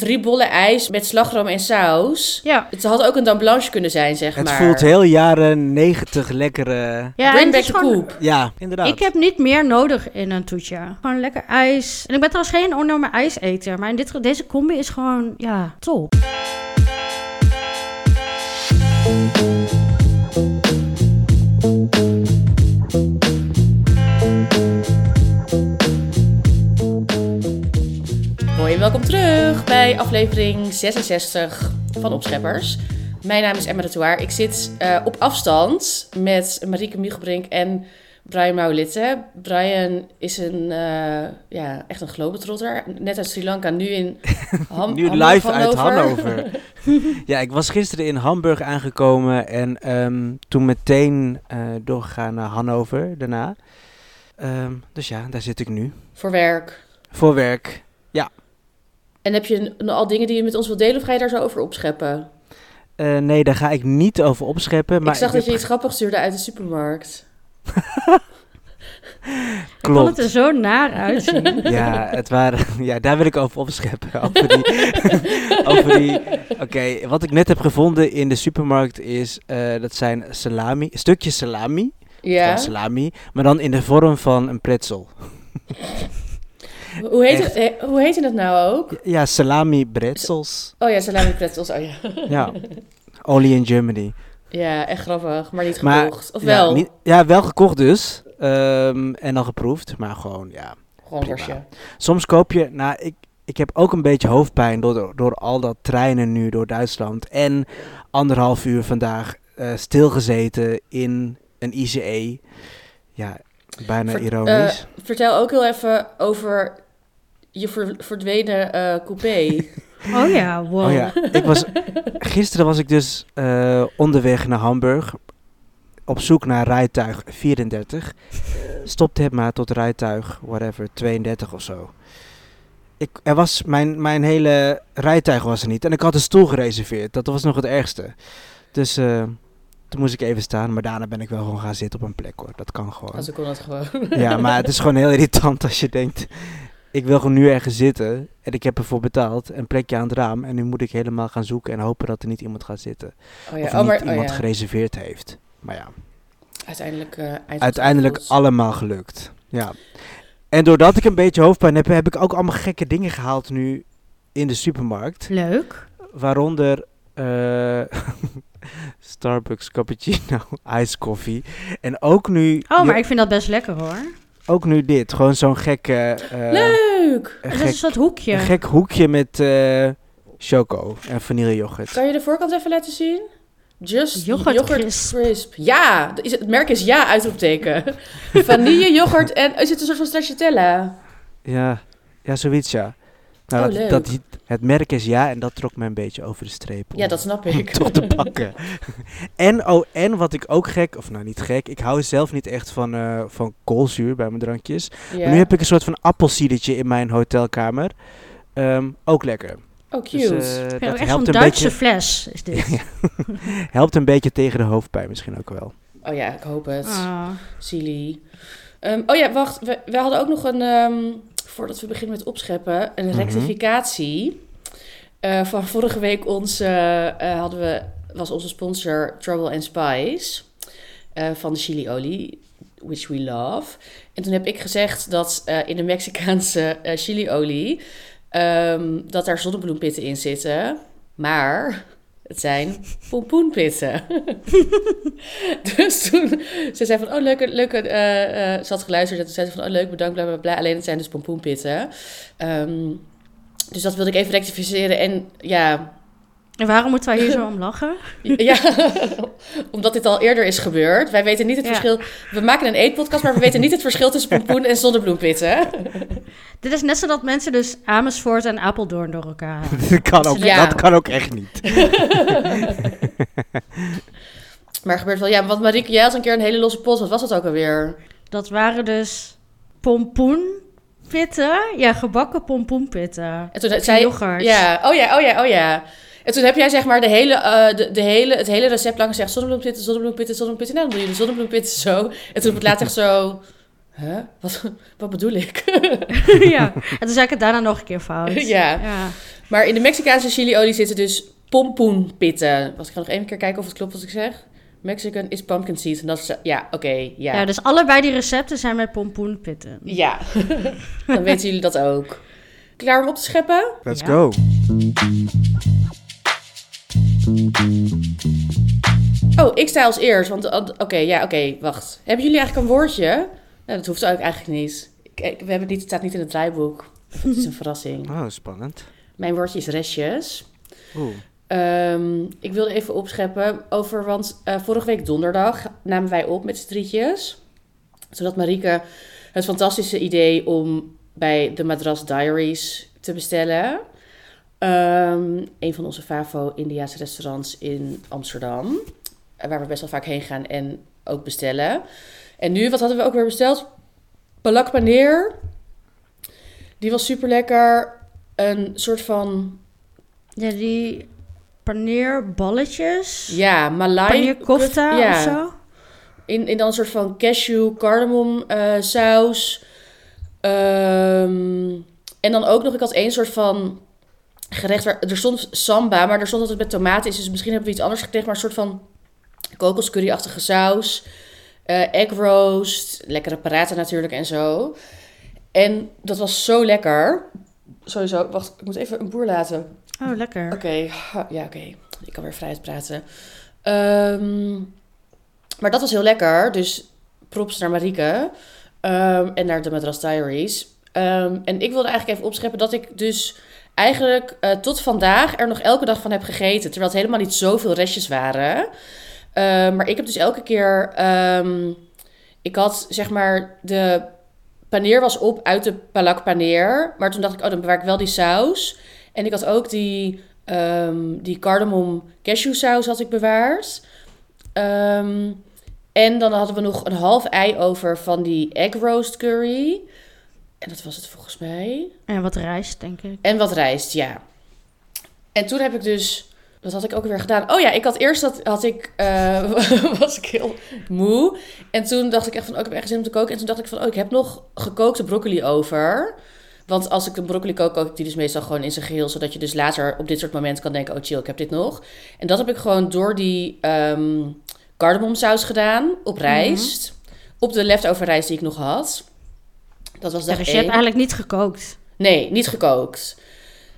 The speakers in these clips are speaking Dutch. drie bollen ijs met slagroom en saus. Ja. Het had ook een dan blanche kunnen zijn, zeg Het maar. voelt heel jaren negentig lekkere... Ja, en Bring het back is the gewoon- coop. Ja, inderdaad. Ik heb niet meer nodig in een toetje. Gewoon lekker ijs. En ik ben trouwens geen enorme ijseter. Maar in dit, ge- deze combi is gewoon, ja, top. Hoi en welkom terug bij aflevering 66 van Opscheppers. Mijn naam is Emma Retouaar. Ik zit eh, op afstand met Marieke Miegebrink en Brian Maulitte. Brian is een, eh, ja, echt een globetrotter. Net uit Sri Lanka, nu in Ham nu Hamburg, live uit Hannover. ja, ik was gisteren in Hamburg aangekomen en ehm, toen meteen eh, doorgegaan naar Hannover daarna. Ehm, dus ja, daar zit ik nu. Voor werk. Voor werk. En heb je een- al dingen die je met ons wilt delen of ga je daar zo over opscheppen? Eh, nee, daar ga ik niet over opscheppen. Maar ik zag heb dat je iets grappigs stuurde uit de supermarkt. Ik vond het Klopt. er zo naar uitzien. Ja, het waren, ja, daar wil ik over opscheppen. Over die, over die, Oké, wat ik net heb gevonden in de supermarkt is, eh, dat zijn salami, stukjes salami, Ja. van salami, maar dan in de vorm van een pretzel. Hoe heet, Echt. het, eh, hoe heet dat nou ook? Ja, salami pretzels. Oh ja, salami pretzels. Oh ja. Ja, only in Germany. Ja, echt grappig, maar niet Maar- gekocht. Of wel? Ja, niet- ja, wel gekocht dus. Ehm, en dan geproefd, maar gewoon, ja. Gewoon prima. worstje. Soms koop je, nou, ik, ik heb ook een beetje hoofdpijn door, door al dat treinen nu door Duitsland. En anderhalf uur vandaag eh, stilgezeten in een ICE. Ja, bijna Ver- ironisch. Vertel ook heel even over je ver- verdwenen eh, coupé. Oh ja, wow. Oh ja, ik was, gisteren was ik dus eh, onderweg naar Hamburg. Op zoek naar rijtuig 34. Stopte het maar tot rijtuig, whatever, 32 of zo. Ik, er was, mijn, mijn hele rijtuig was er niet. En ik had een stoel gereserveerd. Dat was nog het ergste. Dus eh, toen moest ik even staan. Maar daarna ben ik wel gewoon gaan zitten op een plek hoor. Dat kan gewoon. Als ik kon dat gewoon. Oh Ja, maar het is gewoon heel irritant als je denkt... Ik wil gewoon nu ergens zitten en ik heb ervoor betaald. Een plekje aan het raam en nu moet ik helemaal gaan zoeken... en hopen dat er niet iemand gaat zitten. Oh ja, of oh, niet maar, oh iemand ja. gereserveerd heeft. Maar ja, Uiteindelijk, eh, eindelijk uiteindelijk goed. allemaal gelukt. Ja. En doordat ik een beetje hoofdpijn heb... heb ik ook allemaal gekke dingen gehaald nu in de supermarkt. Leuk. Waaronder eh, Starbucks cappuccino, ijskoffie. En ook nu, Oh, maar ik vind dat best lekker hoor. ook nu dit. Gewoon zo'n gekke... eh, Leuk! een Het is een gek soort hoekje. Een gek hoekje met eh, choco en vanillejoghurt. Kan je de voorkant even laten zien? Just Yoghurt yoghurt, crisp. crisp. Ja, is het, het merk is ja, uitroepteken. Vanille, yoghurt en is het een soort van stracciatella? Ja, ja zoiets ja. Oh, Nou, dat, leuk. dat, het merk is ja en dat trok me een beetje over de streep. om- Ja, dat snap ik. Toch te pakken. en, oh, en wat ik ook gek, of nou niet gek, ik hou zelf niet echt van, eh, van koolzuur bij mijn drankjes. Ja. Maar nu heb ik een soort van appelsiedertje in mijn hotelkamer. Ehm, ook lekker. Oh, cute. Dus, eh, Ik vind ook dat echt zo'n helpt een, Duitse beetje, fles is dit. helpt een beetje tegen de hoofdpijn misschien ook wel. Oh ja, ik hoop het. Ah. Silly. Ehm, oh ja, wacht. We, we hadden ook nog een, ehm, voordat we beginnen met opscheppen, een Mhm. rectificatie. Eh, van vorige week onze, eh, eh, hadden we, was onze sponsor Trouble and Spice eh, van de chiliolie, which we love. En toen heb ik gezegd dat eh, in de Mexicaanse eh, chiliolie, ehm, dat daar zonnebloempitten in zitten. Maar het zijn pompoenpitten. dus toen ze zei van, oh leuke, leuke, eh, eh, ze had geluisterd en toen zei ze van, oh leuk, bedankt, bla bla bla. Alleen het zijn dus pompoenpitten. Ehm, dus dat wilde ik even rectificeren en ja, En waarom moeten wij hier zo om lachen? ja omdat dit al eerder is gebeurd. Wij weten niet het Ja. verschil, we maken een eetpodcast, maar we weten niet het verschil tussen pompoen en zonnebloempitten. Dit is net zodat mensen dus Amersfoort en Apeldoorn door elkaar halen. dat, kan ook, Ja. dat kan ook echt niet. Maar gebeurt wel, ja, want Marieke, jij had een keer een hele losse pols, wat was dat ook alweer? Dat waren dus pompoenpitten. Ja, gebakken pompoenpitten. En toen Met zei yoghurt. Ja, oh ja, oh ja, oh ja. En toen heb jij zeg maar de hele, eh, de, de hele, het hele recept lang gezegd... zonnebloempitten, zonnebloempitten, zonnebloempitten. Nou, dan doe je de zonnebloempitten zo. En toen op het laatst echt zo... Huh? Wat, wat bedoel ik? ja. En toen zei ik het daarna nog een keer fout. Ja. ja. Maar in de Mexicaanse chiliolie zitten dus pompoenpitten. Was ik ga nog even keer kijken of het klopt wat ik zeg. Mexican is pumpkin seeds. En dat is, ja, oké, ja. Ja, dus allebei die recepten zijn met pompoenpitten. Ja, dan weten jullie dat ook. Klaar om op te scheppen? Let's Ja. go. Oh, ik sta als eerst. Want, eh, oké, ja, oké, wacht. Hebben jullie eigenlijk een woordje? Nou, dat hoeft ook eigenlijk niet. Ik- ik- we hebben het, niet, het staat niet in het draaiboek. Het is een verrassing. Oh, spannend. Mijn woordje is restjes. Oeh. Ehm, ik wilde even opscheppen over, want eh, vorige week donderdag namen wij op met z'n drietjes. Zodat Marieke het fantastische idee om bij de Madras Diaries te bestellen. Ehm, een van onze Favo-Indiaanse restaurants in Amsterdam. eh, Waar we best wel vaak heen gaan en ook bestellen. En nu, wat hadden we ook weer besteld? Palak paneer. Die was super lekker. Een soort van Ja, die paneerballetjes. Ja, Malai. Paneerkofta Ja. of zo. In, in dan een soort van cashew, cardamom eh, saus. Ehm, en dan ook nog, ik had één soort van gerecht waar... Er stond samba, maar er stond dat het met tomaten is. Dus misschien hebben we iets anders gekregen. Maar een soort van kokoscurryachtige saus. eh egg roast. Lekkere paratha natuurlijk en zo. En dat was zo lekker. Sowieso, wacht, ik moet even een boer laten. Oh, lekker. Oké, ha- ja, oké. Ik kan weer vrij praten. Ehm, maar dat was heel lekker. Dus props naar Marieke. ehm, en naar de Madras Diaries. Ehm, en ik wilde eigenlijk even opscheppen dat ik dus eigenlijk eh, tot vandaag er nog elke dag van heb gegeten. Terwijl het helemaal niet zoveel restjes waren. Ehm, maar ik heb dus elke keer... ehm, ik had zeg maar de paneer was op uit de palak paneer. Maar toen dacht ik, oh, dan bewaar ik wel die saus. En ik had ook die, ehm die cardamom cashew saus had ik bewaard. Ehm, en dan hadden we nog een half ei over van die egg roast curry. En dat was het volgens mij. En wat rijst, denk ik. En wat rijst, ja. En toen heb ik dus... Wat had ik ook weer gedaan? Oh ja, ik had eerst dat had ik, eh, was ik heel moe. En toen dacht ik echt van, oh, ik heb echt zin om te koken. En toen dacht ik van, oh, ik heb nog gekookte broccoli over. Want als ik een broccoli kook, kook ik die dus meestal gewoon in zijn geheel. Zodat je dus later op dit soort momenten kan denken, oh chill, ik heb dit nog. En dat heb ik gewoon door die ehm cardamomsaus gedaan op rijst. Op de leftover rijst die ik nog had. Dat was dag Ja, dus je één. hebt eigenlijk niet gekookt. Nee, niet gekookt.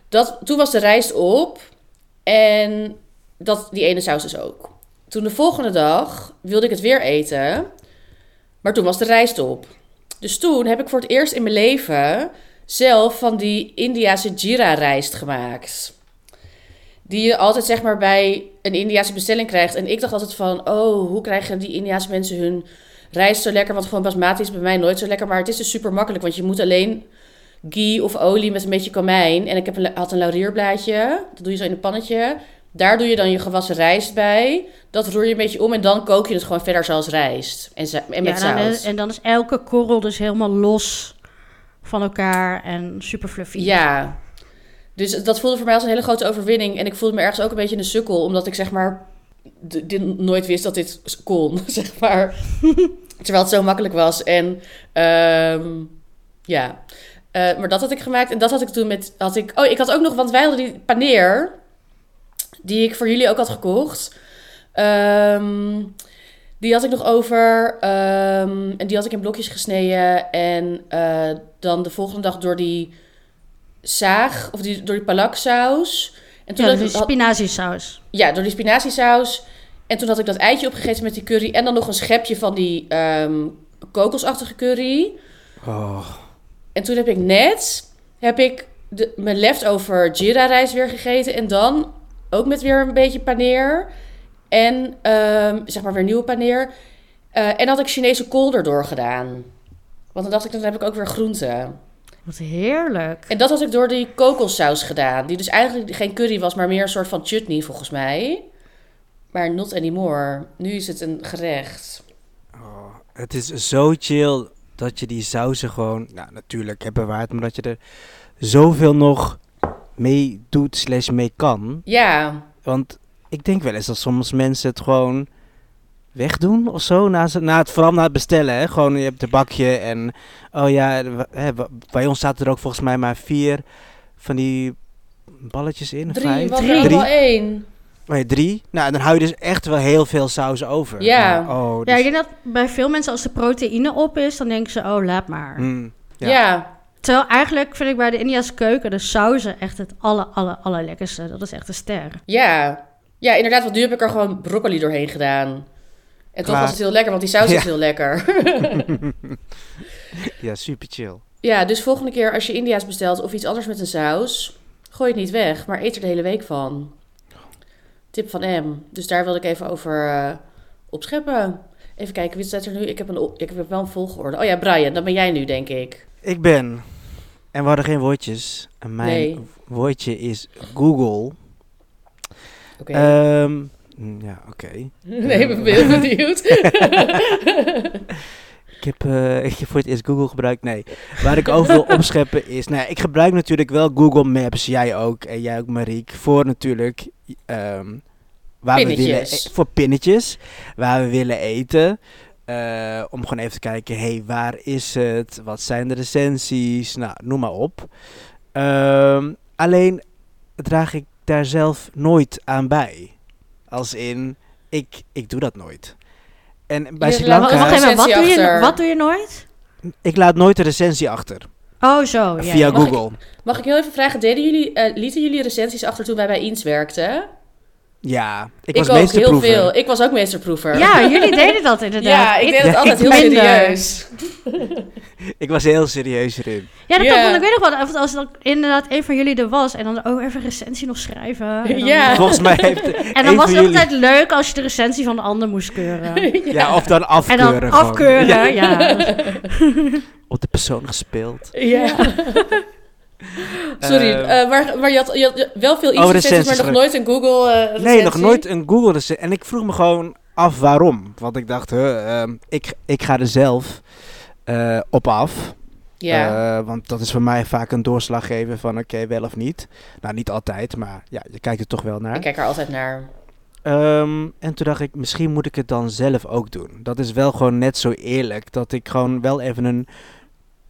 Dat, toen was de rijst op en dat, die ene saus dus ook. Toen de volgende dag wilde ik het weer eten, maar toen was de rijst op. Dus toen heb ik voor het eerst in mijn leven zelf van die Indiase jira rijst gemaakt. Die je altijd zeg maar bij een Indiase bestelling krijgt. En ik dacht altijd van, oh, hoe krijgen die Indiase mensen hun rijst zo lekker? Want gewoon basmati is bij mij nooit zo lekker. Maar het is dus super makkelijk, want je moet alleen ghee of olie met een beetje komijn. En ik heb een, had een laurierblaadje. Dat doe je zo in een pannetje. Daar doe je dan je gewassen rijst bij. Dat roer je een beetje om en dan kook je het gewoon verder zoals rijst. En, za- en met ja, en dan, eh, saus. is- en dan is elke korrel dus helemaal los van elkaar en super fluffy. Ja. Dus dat voelde voor mij als een hele grote overwinning. En ik voelde me ergens ook een beetje een sukkel. Omdat ik zeg maar d- dit nooit wist dat dit s- kon. Zeg maar. Terwijl het zo makkelijk was. En ehm, ja. Eh, maar dat had ik gemaakt. En dat had ik toen met... Had ik, oh, ik had ook nog... Want wij hadden die paneer. Die ik voor jullie ook had gekocht. Ehm, die had ik nog over. ehm, en die had ik in blokjes gesneden. En eh, dan de volgende dag door die zaag, of die, door die palaksaus. En toen Ja, had dat ik- is had- spinaziesaus. ja, door die spinaziesaus. En toen had ik dat eitje opgegeten met die curry. En dan nog een schepje van die ehm, kokosachtige curry. Oh, En toen heb ik net heb ik de, mijn leftover jira rijst weer gegeten. En dan ook met weer een beetje paneer. En ehm, zeg maar weer nieuwe paneer. Eh, en had ik Chinese kool erdoor gedaan. Want dan dacht ik, dan heb ik ook weer groenten. Wat heerlijk. En dat had ik door die kokossaus gedaan. Die dus eigenlijk geen curry was, maar meer een soort van chutney volgens mij. Maar not anymore. Nu is het een gerecht. oh. Het is zo chill dat je die sausen gewoon, nou natuurlijk hebt bewaard, maar dat je er zoveel nog mee doet slash mee kan. Ja, Want ik denk wel eens dat soms mensen het gewoon wegdoen of zo, na, ze- na het, vooral na het bestellen. Hè? Gewoon, je hebt een bakje en, oh ja, en wa- hè, wa- bij ons zaten er ook volgens mij maar vier van die balletjes in? Drie, vijf? was Drie. er allemaal één. Nee, drie. Nou, dan hou je dus echt wel heel veel saus over. Ja. Maar, oh, Ja, dus- ik denk dat bij veel mensen als de proteïne op is, dan denken ze, oh, laat maar. Mm. Ja. Ja. Terwijl eigenlijk vind ik bij de Indiase keuken de sauzen echt het aller, aller, allerlekkerste. Dat is echt een ster. Ja. Ja, inderdaad, want nu heb ik er gewoon broccoli doorheen gedaan. En toch Klaar. was het heel lekker, want die saus Ja. is heel lekker. ja, super chill. ja, dus volgende keer als je India's bestelt of iets anders met een saus, gooi het niet weg, maar eet er de hele week van. Tip van M. Dus daar wilde ik even over eh, opscheppen. Even kijken, wie staat er nu? Ik heb, een, o- ik heb wel een volgorde. Oh ja, Brian, dat ben jij nu, denk ik. Ik ben. En we hadden geen woordjes. En mijn Nee. woordje is Google. Oké. Ehm, mm, ja, oké. nee, ik ben heel benieuwd. Ik, heb, eh, ik heb voor het eerst Google gebruikt. Nee. Waar ik over wil opscheppen is. Nou, ja, ik gebruik natuurlijk wel Google Maps. Jij ook. En jij ook, Mariek. Voor natuurlijk. ehm, waar We willen, Pinnetjes. e- voor pinnetjes. Waar we willen eten. Eh, om gewoon even te kijken. Hé, hey, waar is het? Wat zijn de recensies? Nou, noem maar op. Ehm, alleen draag ik daar zelf nooit aan bij. Als in. Ik, ik doe dat nooit. En bij Je Sri laat- Lanka. Wacht even, wat doe, je, achter. wat doe je nooit? Ik laat nooit de recensie achter. Oh, zo. Ja. via Mag ik- Google. Mag ik heel even vragen, deden jullie, eh, lieten jullie recensies achter toen wij bij Eens werkten? Ja, ik, Ik, was ook heel meesterproever. veel. Ik was ook meesterproever. Ja, jullie deden dat inderdaad. Ja, ik deed het Ja, altijd ik heel minder. serieus. Ik was heel serieus erin. Ja, dat Ja. kan, want ik weet nog wel, even als dan inderdaad een van jullie er was en dan ook even een recensie nog schrijven. En dan, Ja. Volgens mij heeft En dan was het ook altijd leuk als je de recensie van de ander moest keuren. Ja, oh, of dan En afkeuren. dan gewoon. afkeuren, ja. Op de persoon gespeeld. Ja. Sorry, Ehm, eh, maar, maar je, had, je had wel veel Oh, Insta-recensies, maar nog nooit recensies. een Google eh, recensie? nee, nog nooit een Google recensie. En ik vroeg me gewoon af waarom. Want ik dacht, huh, ehm, ik, ik ga er zelf eh, op af. Ja, Eh, want dat is voor mij vaak een doorslag geven van oké, wel of niet. Nou, niet altijd, maar ja, je kijkt er toch wel naar. ik kijk er altijd naar. Ehm, en toen dacht ik, misschien moet ik het dan zelf ook doen. Dat is wel gewoon net zo eerlijk. Dat ik gewoon wel even een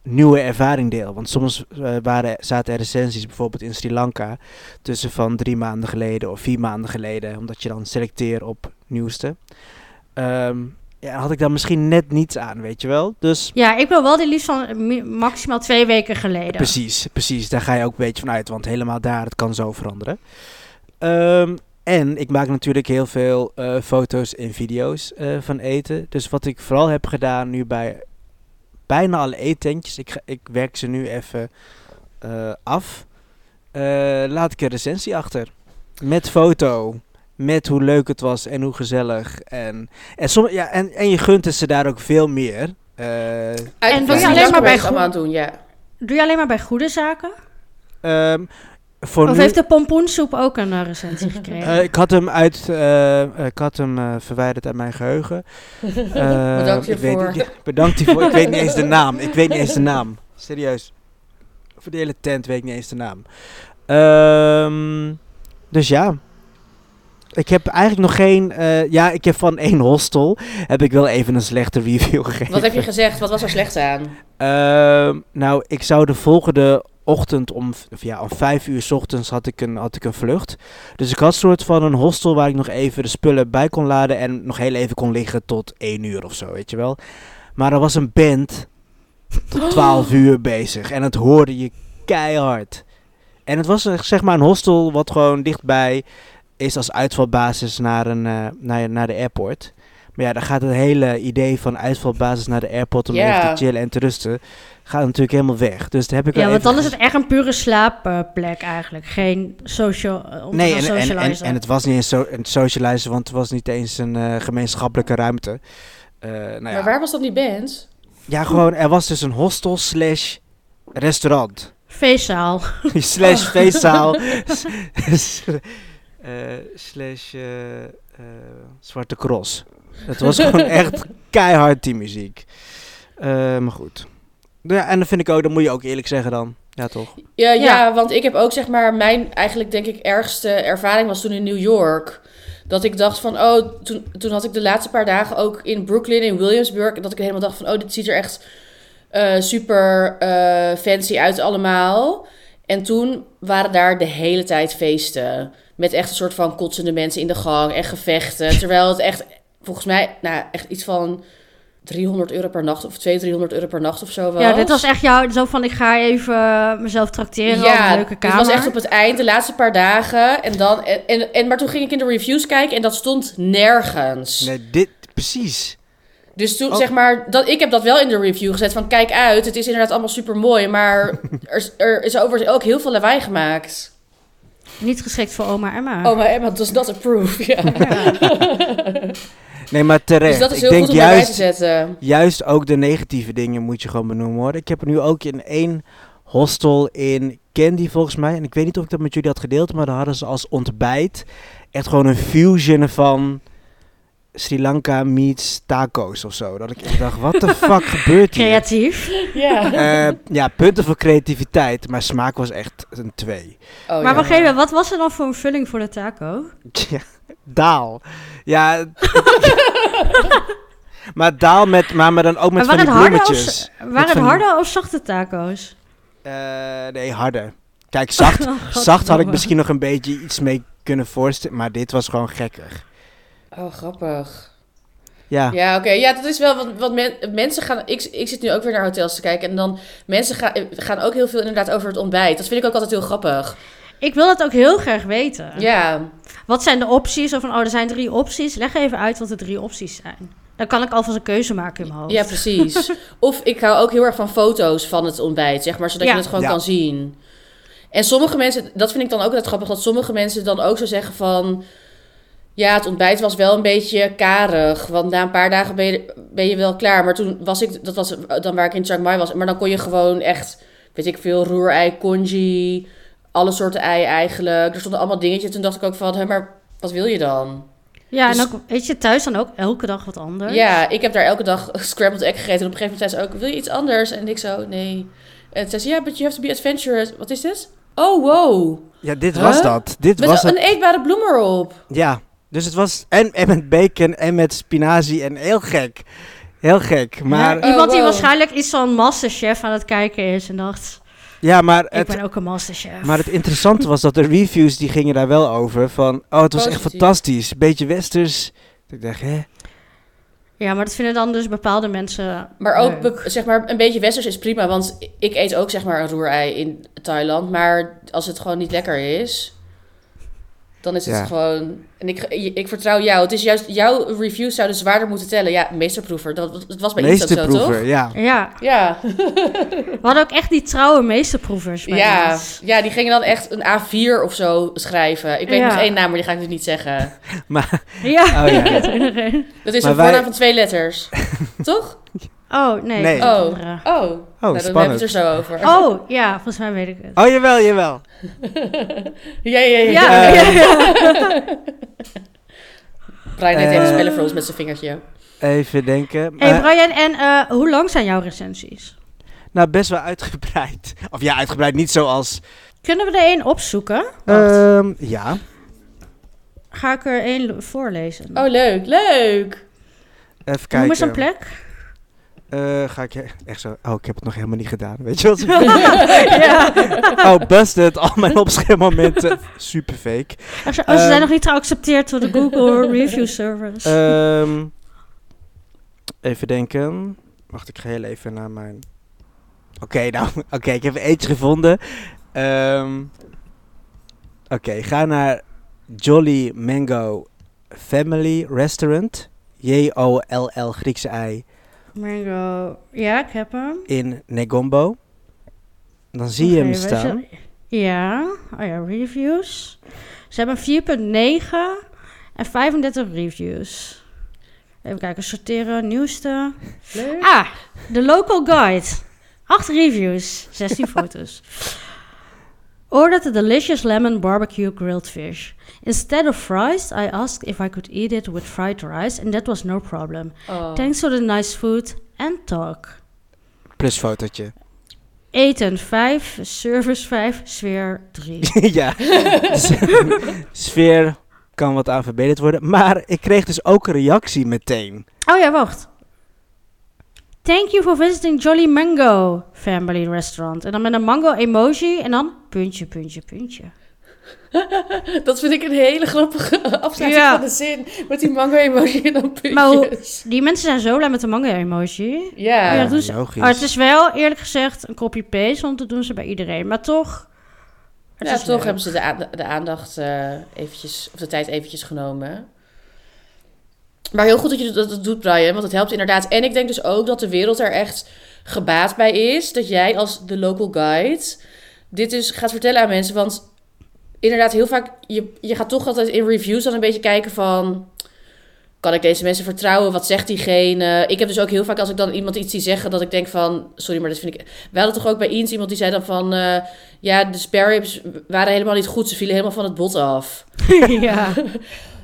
nieuwe ervaring deel. Want soms eh, waren, zaten er recensies bijvoorbeeld in Sri Lanka tussen van drie maanden geleden of vier maanden geleden. Omdat je dan selecteert op nieuwste. Ehm, ja, had ik daar misschien net niets aan, weet je wel. Dus Ja, ik wil wel die liefst van mi- maximaal twee weken geleden. Precies, precies. Daar ga je ook een beetje van uit, want helemaal daar, het kan zo veranderen. Ehm, en ik maak natuurlijk heel veel eh, foto's en video's eh, van eten. Dus wat ik vooral heb gedaan nu bij bijna alle eetentjes, ik, ga- ik werk ze nu even eh, af, eh, laat ik een recensie achter. Met foto, met hoe leuk het was en hoe gezellig. En, en, som, ja, en, en je gunt het ze daar ook veel meer. Eh, Uit- En van doe je Sri alleen Lanka maar bij ben ik het Google? allemaal aan het doen, ja. Doe je alleen maar bij goede zaken? ehm, voor Of nu, heeft de pompoensoep ook een eh, recensie gekregen? Eh, ik had hem, uit, eh, ik had hem eh, verwijderd uit mijn geheugen. Eh, Bedankt ik weet hiervoor. niet- ja, bedankt hiervoor. ik weet niet eens de naam. Ik weet niet eens de naam. Serieus. Voor de hele tent weet ik niet eens de naam. Ehm, dus ja. Ik heb eigenlijk nog geen... eh, ja, ik heb van één hostel... heb ik wel even een slechte review gegeven. Wat heb je gezegd? Wat was er slecht aan? Ehm, nou, ik zou de volgende ochtend om, v- of ja, om vijf uur 's ochtends had ik, een, had ik een vlucht. Dus ik had een soort van een hostel waar ik nog even de spullen bij kon laden en nog heel even kon liggen tot één uur of zo, weet je wel. Maar er was een band tot twaalf uur bezig en dat hoorde je keihard. En het was eh, zeg maar een hostel wat gewoon dichtbij is als uitvalbasis naar, een, eh, naar, naar de airport. Maar ja, dan gaat het hele idee van uitvalbasis naar de airport om Ja. even te chillen en te rusten, gaat natuurlijk helemaal weg. Dus daar heb ik wel ja, want even dan is het echt een pure slaapplek eigenlijk. Geen social, eh, om te Nee, gaan en, en, en, socializen. en het was niet eens zo, een socializen, want het was niet eens een eh, gemeenschappelijke ruimte. Eh, nou ja. Maar waar was dat die band? ja, gewoon, er was dus een hostel slash restaurant. Feestzaal. Oh. slash feestzaal. S- eh, slash eh, eh, Zwarte Cross. Het was gewoon echt keihard die muziek. Eh, maar goed. Nou Ja, en dan vind ik ook, dat moet je ook eerlijk zeggen dan. Ja, toch? Ja, ja. Ja. want ik heb ook zeg maar mijn eigenlijk denk ik ergste ervaring was toen in New York. Dat ik dacht van, oh, toen, toen had ik de laatste paar dagen ook in Brooklyn, in Williamsburg. Dat ik helemaal dacht van, oh, dit ziet er echt eh, super eh, fancy uit allemaal. En En toen waren daar de hele tijd feesten. Met echt een soort van kotsende mensen in de gang en gevechten. Terwijl het echt, volgens mij, nou, echt iets van 300 euro per nacht of 200, 300 euro per nacht of zo was. Ja, dit was echt jouw, zo van ik ga even eh, mezelf trakteren op een leuke dit kamer. was echt op het eind, de laatste paar dagen. En dan, en, en, en- maar toen ging ik in de reviews kijken en dat stond nergens. Nee, dit, precies. Dus toen, Oh. zeg maar, dat, ik heb dat wel in de review gezet van kijk uit, het is inderdaad allemaal super mooi, maar er, is- er is over ook heel veel lawaai gemaakt. Niet geschikt voor oma Emma. Oh, maar Emma does not approve. Ja. Nee, maar terecht. Dus dat is ik heel denk goed om daarbij juist, te zetten. juist ook de negatieve dingen moet je gewoon benoemen hoor. Ik heb er nu ook in één hostel in Candy volgens mij. En ik weet niet of ik dat met jullie had gedeeld, maar daar hadden ze als ontbijt echt gewoon een fusion van Sri Lanka meets tacos of zo. Dat ik echt dacht, wat de fuck gebeurt hier? Creatief. Oh, Ja. Eh, ja, punten voor creativiteit, maar smaak was echt een 2. Oh, maar ja. wacht even, wat was er dan voor een vulling voor de taco? Ja, daal. Ja. maar daal met, maar, maar dan ook met Maar van die waren het harde of bloemetjes. Waren het van die- harde of zachte taco's? Eh, nee, harde. Kijk, zacht, Oh, zacht had ik misschien nog een beetje iets mee kunnen voorstellen, maar dit was gewoon gekker. Oh, grappig. Ja, Ja, oké. Ja, dat is wel wat, wat men- mensen gaan. Ik, ik zit nu ook weer naar hotels te kijken. En dan mensen gaan, gaan ook heel veel inderdaad over het ontbijt. Dat vind ik ook altijd heel grappig. Ik wil dat ook heel graag weten. Ja. Wat zijn de opties? Of van, oh, er zijn drie opties. Leg even uit wat de drie opties zijn. Dan kan ik alvast een keuze maken in mijn hoofd. Ja, precies. of ik hou ook heel erg van foto's van het ontbijt, zeg maar, zodat Ja. je het gewoon Ja. kan zien. En sommige mensen, dat vind ik dan ook altijd grappig, dat sommige mensen dan ook zo zeggen van... Ja, het ontbijt was wel een beetje karig, want na een paar dagen ben je, ben je wel klaar. Maar toen was ik, dat was dan waar ik in Chiang Mai was, maar dan kon je gewoon echt, weet ik veel, roerei, congee, alle soorten ei eigenlijk. Er stonden allemaal dingetjes. Toen dacht ik ook van, hé, maar wat wil je dan? Ja, Dus- en ook, weet je, thuis dan ook elke dag wat anders. Ja, ik heb daar elke dag scrambled egg gegeten. En op een gegeven moment zei ze ook, wil je iets anders? En ik zo, nee. En zei ze, ja, but you have to be adventurous. Wat is dit? Oh, wow. ja dit Huh? was dat. Dit Met was een het. eetbare bloem erop. Ja, dus het was en, en met bacon en met spinazie en heel gek. Heel gek, maar Ja, iemand die Oh, wow. waarschijnlijk iets van Masterchef aan het kijken is en dacht, ja, maar ik het, ben ook een Masterchef. Maar het interessante was dat de reviews die gingen daar wel over. Van, oh, het was echt Positief. Oh, fantastisch. Beetje westers. Ik dacht, hè? Ja, maar dat vinden dan dus bepaalde mensen Maar ook, leuk. be- zeg maar, een beetje westers is prima. Want ik eet ook, zeg maar, een roerei in Thailand. Maar als het gewoon niet lekker is, dan is het Ja. gewoon... En ik, ik vertrouw jou. Het is juist, jouw reviews zouden zwaarder moeten tellen. Ja, meesterproever. Dat, dat was bij iets ook zo, toch? Meesterproever, ja. Ja, Ja. we hadden ook echt die trouwe meesterproevers bij Ja, ons. ja, die gingen dan echt een A4 of zo schrijven. Ik weet Ja. nog één naam, maar die ga ik nu niet zeggen. Maar, Ja, Oh, ja. ik weet er een. Dat is Maar een wij- voornaam van twee letters. Toch? Oh, nee. Nee. ik weet Oh. een andere. Oh, nou, dan hebben we spannend. het er zo over. Oh, ja, volgens mij weet ik het. oh, jawel, jawel. Ja, ja, ja. ja. Ja, Eh. ja. Brian deed hele Eh. spellen voor ons met zijn vingertje. Even denken. Hey Maar- Brian, en eh, hoe lang zijn jouw recensies? nou, best wel uitgebreid. Of ja, uitgebreid niet zoals... Kunnen we er één opzoeken? Wacht, Ehm, ja. Ga ik er één lo- voorlezen? Oh, leuk, leuk. Even kijken. Noem eens een plek. Eh, ga ik... he- Echt zo... Oh, ik heb het nog helemaal niet gedaan. Weet je wat? ja. oh, busted. Al mijn opschermmomenten. Super fake. Echt zo, oh, ze Ehm. zijn nog niet geaccepteerd door de Google Review Service. Ehm, even denken. Wacht, ik ga heel even naar mijn. Oké, nou, oké, ik heb eentje gevonden. Ehm, oké, ga naar Jolly Mango Family Restaurant. J-O-L-L Griekse ei Mango. Oh Ja, ik heb hem. in Negombo. Dan zie je hem Oké, wij staan. zijn- Ja. Oh ja, reviews. Ze hebben 4,9 en 35 reviews. Even kijken, sorteren, nieuwste. Leuk. Ah, de local guide. 8 reviews, 16 foto's. Ordered the delicious lemon barbecue grilled fish. Instead of fries, I asked if I could eat it with fried rice, and that was no problem. Oh. Thanks for the nice food and talk. Plus fotootje. Eten 5, service 5, sfeer 3. ja, Dus, sfeer kan wat aan verbeterd worden. Maar ik kreeg dus ook een reactie meteen. Oh ja, wacht. Oh Thank you for visiting Jolly Mango Family Restaurant. En dan met een mango emoji en dan puntje, puntje, puntje. Dat vind ik een hele grappige afsluiting Ja. van de zin. Met die mango emoji en dan puntjes. Maar hoe- Die mensen zijn zo blij met de mango emoji. Ja. Ja, doe ze. logisch. Maar het is wel eerlijk gezegd een copy-paste, want dat doen ze bij iedereen. Maar toch. Het Ja, is toch leuk. hebben ze de, aan- de aandacht eh, eventjes, of de tijd eventjes genomen. Maar heel goed dat je dat, dat doet, Brian, want het helpt inderdaad. En ik denk dus ook dat de wereld er echt gebaat bij is. Dat jij als de local guide dit dus gaat vertellen aan mensen. Want inderdaad, heel vaak, je, je gaat toch altijd in reviews dan een beetje kijken van... Kan ik deze mensen vertrouwen? Wat zegt diegene? Ik heb dus ook heel vaak als ik dan iemand iets zie zeggen... dat ik denk van, sorry, maar dit vind ik... We hadden toch ook bij eens iemand die zei dan van... eh, ja, de spare ribs waren helemaal niet goed. Ze vielen helemaal van het bot af. ja.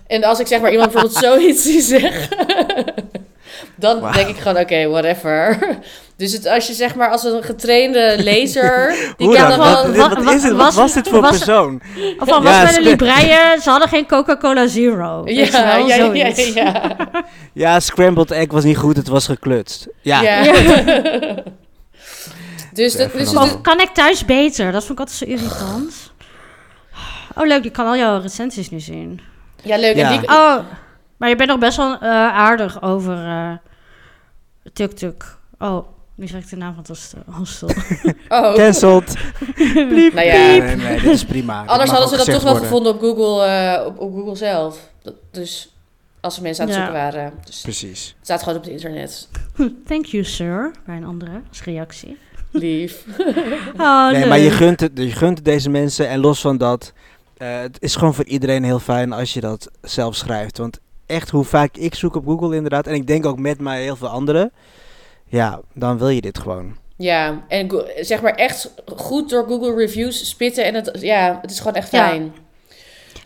En als ik zeg maar iemand bijvoorbeeld zoiets zie zeggen... dan Wauw. denk ik gewoon, oké, whatever. Dus het, als je zeg maar als een getrainde lezer... die Hoe kan dan? dan Wat- wel... Wat, wat, wa- is dit? was- Wat was dit voor was- persoon? Of al Ja, was bij spe- de Libreien, ze hadden geen Coca-Cola Zero. Ja, Weet je wel, ja, ja, zoiets. ja. Ja, scrambled egg was niet goed, het was geklutst. Ja, Ja. dus dat, dus Ja. Of kan ik thuis beter? Dat vond ik altijd zo irritant. Oh, leuk, ik kan al jouw recensies nu zien. ja, leuk. Ja. En die, Oh, maar je bent nog best wel eh, aardig over eh, Tuk Tuk. Oh, nu zeg ik de naam van het hostel- hostel. oh. cancelled. Bliep, Nou ja. bliep. Nee, nee, dit is prima. Dit Anders mag hadden ze ook dat toch gezegd wel worden. gevonden op Google, eh, op, op Google zelf. Dat- dus als ze mensen aan het Ja. zoeken waren. Dus het Precies. staat gewoon op het internet. Thank you, sir. Bij een andere, als reactie. Lief. Oh, nee, leuk. maar je gunt, het, je gunt het deze mensen en los van dat, eh, het is gewoon voor iedereen heel fijn als je dat zelf schrijft. Want echt hoe vaak ik zoek op Google inderdaad, en ik denk ook met mij heel veel anderen, ja, dan wil je dit gewoon. Ja, en go- zeg maar echt goed door Google reviews spitten. En het, ja, het is gewoon echt Ja. fijn.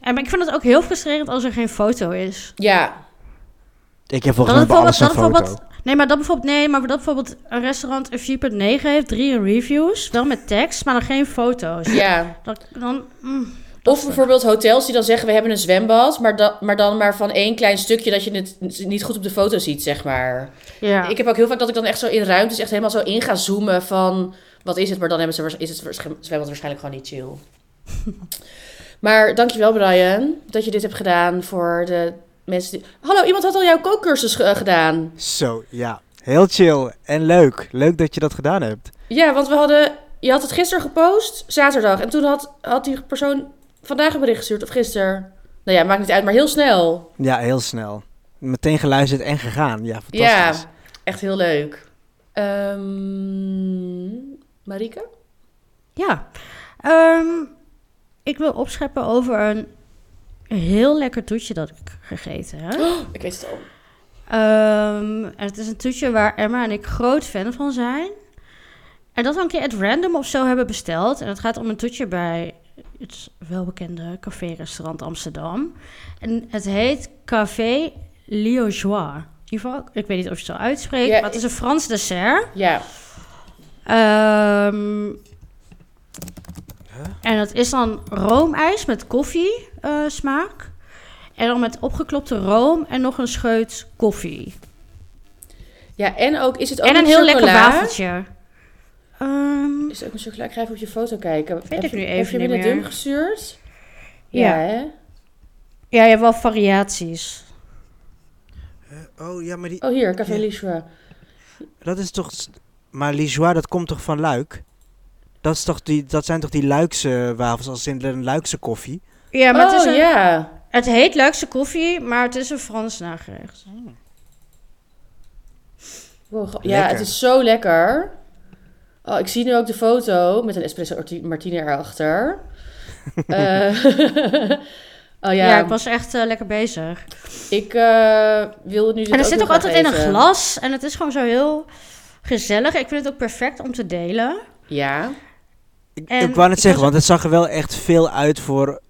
En, maar ik vind het ook heel frustrerend als er geen foto is. Ja, Ik heb volgens mij bij alles een dat foto. nee, maar dat bijvoorbeeld, nee, maar dat bijvoorbeeld een restaurant een 4.9 heeft, drie reviews, wel met tekst, maar dan geen foto's. ja. Dan, dan, mm, dat Of is- bijvoorbeeld hotels die dan zeggen we hebben een zwembad. Maar, da- maar dan maar van één klein stukje dat je het niet goed op de foto ziet, zeg maar. ja. Ik heb ook heel vaak dat ik dan echt zo in ruimtes echt helemaal zo in ga zoomen van wat is het, maar dan hebben ze, waars- is het waarsch- zwembad waarschijnlijk gewoon niet chill. maar dankjewel Brian dat je dit hebt gedaan voor de mensen die... Hallo, iemand had al jouw kookcursus eh, gedaan. Zo, ja. Heel chill en leuk. Leuk dat je dat gedaan hebt. Ja, want we hadden... Je had het gisteren gepost, zaterdag. En toen had, had die persoon vandaag een bericht gestuurd, of gisteren. Nou ja, maakt niet uit, maar heel snel. Ja, heel snel. Meteen geluisterd en gegaan. Ja, Ja, fantastisch. echt heel leuk. Ehm Marike? Ja. Ehm, ik wil opscheppen over een heel lekker toetje dat ik gegeten heb. Ik weet het al. Ehm, en het is een toetje waar Emma en ik groot fan van zijn. En dat we een keer at random of zo hebben besteld. En het gaat om een toetje bij het welbekende café-restaurant Amsterdam. En het heet Café Liégeois. In ieder geval, ik weet niet of je het zo uitspreekt, Ja, maar het is een Frans dessert. Ja. Ehm, En dat is dan roomijs met koffie eh, smaak. En dan met opgeklopte room en nog een scheut koffie. Ja, en ook is het ook En een met heel lekker chocola? wafeltje. Ehm, Is het ook een chocola? Ik ga even op je foto kijken. Weet ik nu even Heb je niet me de meer. dump gestuurd? Ja. hè? ja, je hebt wel variaties. Oh ja, maar die, Oh, hier, Café Ja. Lichwa. dat is toch. s- Maar Lijois, dat komt toch van Luik? Dat, is toch die, dat zijn toch die Luikse wafels, als in een Luikse koffie? Ja, maar het, is oh, een- ja. het heet Luikse koffie, maar het is een Frans nagerecht. Wow, ge- ja, Lekker. het is zo lekker. Oh, ik zie nu ook de foto met een espresso orti- martini erachter. Eh, oh ja, Ja, ik was echt eh, lekker bezig. ik eh, wilde nu dit en het ook zit nog ook altijd in graag een eten. glas en het is gewoon zo heel gezellig. Ik vind het ook perfect om te delen. Ja. Ik, En ik wou net ik zeggen, was- want het zag er wel echt veel uit voor.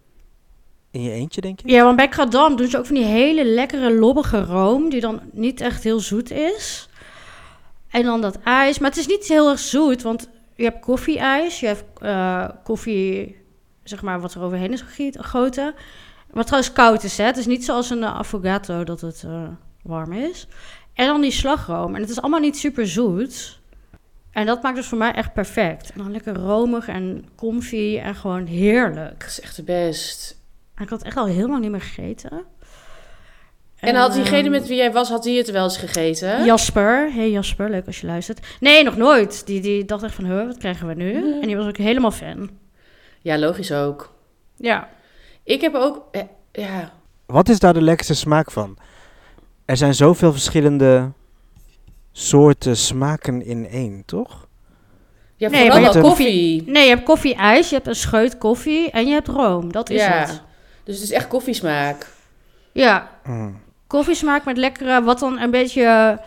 In je eentje, denk je? Ja, want bij Kradam doen ze ook van die hele lekkere lobbige room, die dan niet echt heel zoet is. En dan dat ijs, maar het is niet heel erg zoet, want je hebt koffieijs, je hebt eh, koffie, zeg maar, wat er overheen is gegiet- gegoten. Wat trouwens koud is, hè. Het is niet zoals een eh, affogato dat het eh, warm is. En dan die slagroom. En het is allemaal niet super zoet. En dat maakt dus voor mij echt perfect. En dan lekker romig en comfy en gewoon heerlijk. Dat is echt de best. En ik had echt al heel lang niet meer gegeten. En had diegene ehm, met wie jij was, had die het wel eens gegeten? Jasper, hey Jasper, leuk als je luistert. Nee, nog nooit. Die, die dacht echt van, huh, wat krijgen we nu? Mhm. En die was ook helemaal fan. Ja, logisch ook. Ja. Ik heb ook... eh, ja, Wat is daar de lekkerste smaak van? Er zijn zoveel verschillende soorten smaken in één, toch? ja Nee, vooral maar wel je- koffie. Nee, je hebt koffie-ijs, je hebt een scheut koffie en je hebt room. Dat is Ja. het. Dus het is echt koffiesmaak. Ja, Mm. koffiesmaak met lekkere, wat dan een beetje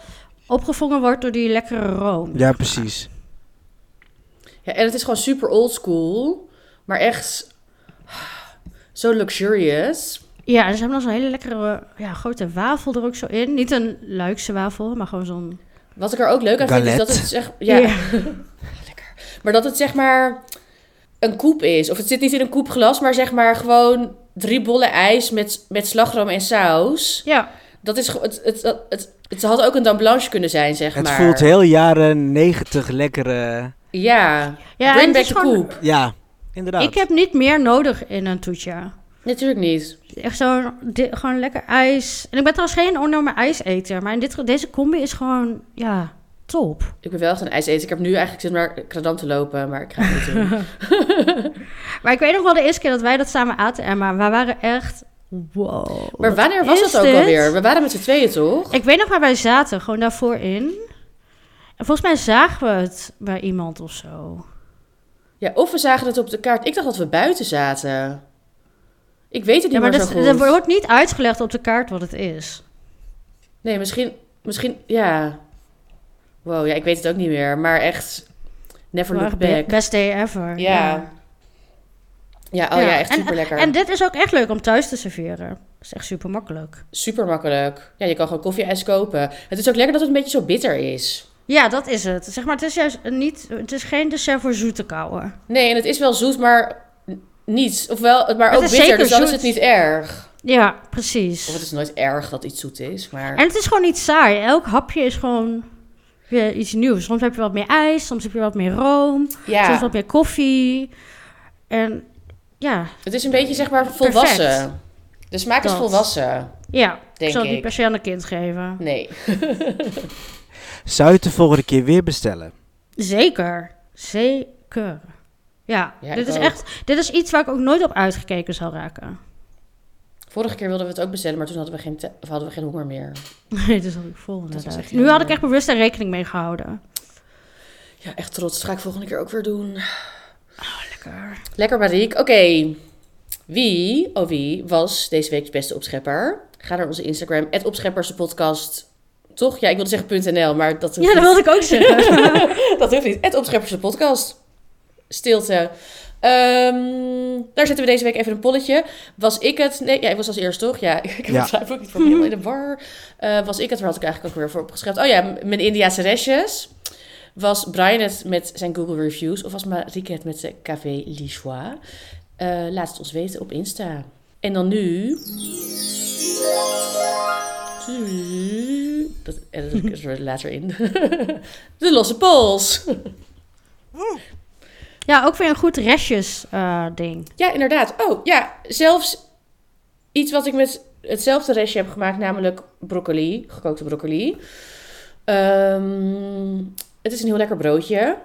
opgevangen wordt door die lekkere room. Ja, precies. Ja, en het is gewoon super old school, maar echt zo luxurious. Ja, en ze hebben dan zo'n hele lekkere, ja, grote wafel er ook zo in. Niet een luikse wafel, maar gewoon zo'n... Wat ik er ook leuk aan vind is Galette. dat het zeg, ja, lekker. Maar dat het zeg maar een koep is, of het zit niet in een koepglas, maar zeg maar gewoon drie bollen ijs met, met slagroom en saus. Ja, Dat is ge- het, het, het, het, het had ook een dan blanche kunnen zijn, zeg Het maar. voelt heel jaren negentig lekkere... Ja, ja en bring het back is the gewoon- koep. Ja, inderdaad. Nou, Ik heb niet meer nodig in een toetje. Natuurlijk niet. Echt zo'n, di- gewoon lekker ijs. En ik ben trouwens geen enorme ijseter, maar in dit, ge- deze combi is gewoon, ja, top. Ik ben wel echt een ijseter. Ik heb nu eigenlijk zin om naar Kradam te lopen, maar ik ga het niet doen. Maar ik weet nog wel de eerste keer dat wij dat samen aten, Emma. Wij waren echt, wow. Maar wat wanneer was is dat ook dit? alweer? We waren met z'n tweeën, toch? Ik weet nog waar wij zaten, gewoon daarvoor in. En volgens mij zagen we het bij iemand of zo. Ja, of we zagen het op de kaart. Ik dacht dat we buiten zaten. Ik weet het niet Ja, maar meer dat, zo goed. dat wordt niet uitgelegd op de kaart wat het is. Nee, misschien, misschien, ja. Wow, ja, ik weet het ook niet meer. Maar echt, never Gewoon look echt be- back. Best day ever. Ja. Ja, oh ja, echt En- super lekker. En dit is ook echt leuk om thuis te serveren. Dat is echt super makkelijk. Super makkelijk. Ja, je kan gewoon koffie-ijs kopen. Het is ook lekker dat het een beetje zo bitter is. Ja, dat is het. Zeg maar, het is juist een niet, het is geen dessert voor zoete kouwen. Nee, en het is wel zoet, maar n- niet. Ofwel, maar Het ook is bitter, zeker dus dan is zoet. het niet erg. Ja, precies. Of het is nooit erg dat iets zoet is, maar... En het is gewoon niet saai. Elk hapje is gewoon weer iets nieuws. Soms heb je wat meer ijs, soms heb je wat meer room, ja. soms wat meer koffie. En ja, Het is een beetje zeg maar volwassen. De smaak is Dat. volwassen. ja. Denk ik zal het ik. niet per se aan een kind geven. Nee. Zou je het de volgende keer weer bestellen? Zeker. Zeker. Ja, Ja, dit ik is ook. echt. Dit is iets waar ik ook nooit op uitgekeken zal raken. Vorige keer wilden we het ook bestellen, maar toen hadden we geen, te- of hadden we geen honger meer. Nee, dit is ik vol. was inderdaad. echt heel Nu had ik mooi. echt bewust daar rekening mee gehouden. Ja, echt trots. Dat ga ik volgende keer ook weer doen. Lekker. Lekker, Mariek. Oké. Wie, oh wie, was deze week de beste opschepper? Ga naar onze Instagram, het opschepperspodcast. Toch? Ja, ik wilde zeggen .nl, maar dat hoeft Ja, dat wilde ik ook zeggen. niet. Dat hoeft niet. Het opschepperspodcast. Stilte. Ehm, daar zetten we deze week even een polletje. Was ik het? Nee, ja, ik was als eerst toch? Ja, ik Ja. begrijp ook niet van helemaal in de war. Eh, was ik het? Waar had ik eigenlijk ook weer voor opgeschreven? Oh ja, m- mijn Indiase restjes. Was Brian het met zijn Google Reviews? Of was Marieke het met zijn Café Lichois? Eh, laat het ons weten op Insta. En dan nu... Dat edit ik er later in. De losse pols. ja, ook weer een goed restjes eh, ding. Ja, inderdaad. Oh, ja, zelfs iets wat ik met hetzelfde restje heb gemaakt, namelijk broccoli, gekookte broccoli. Ehm, het is een heel lekker broodje.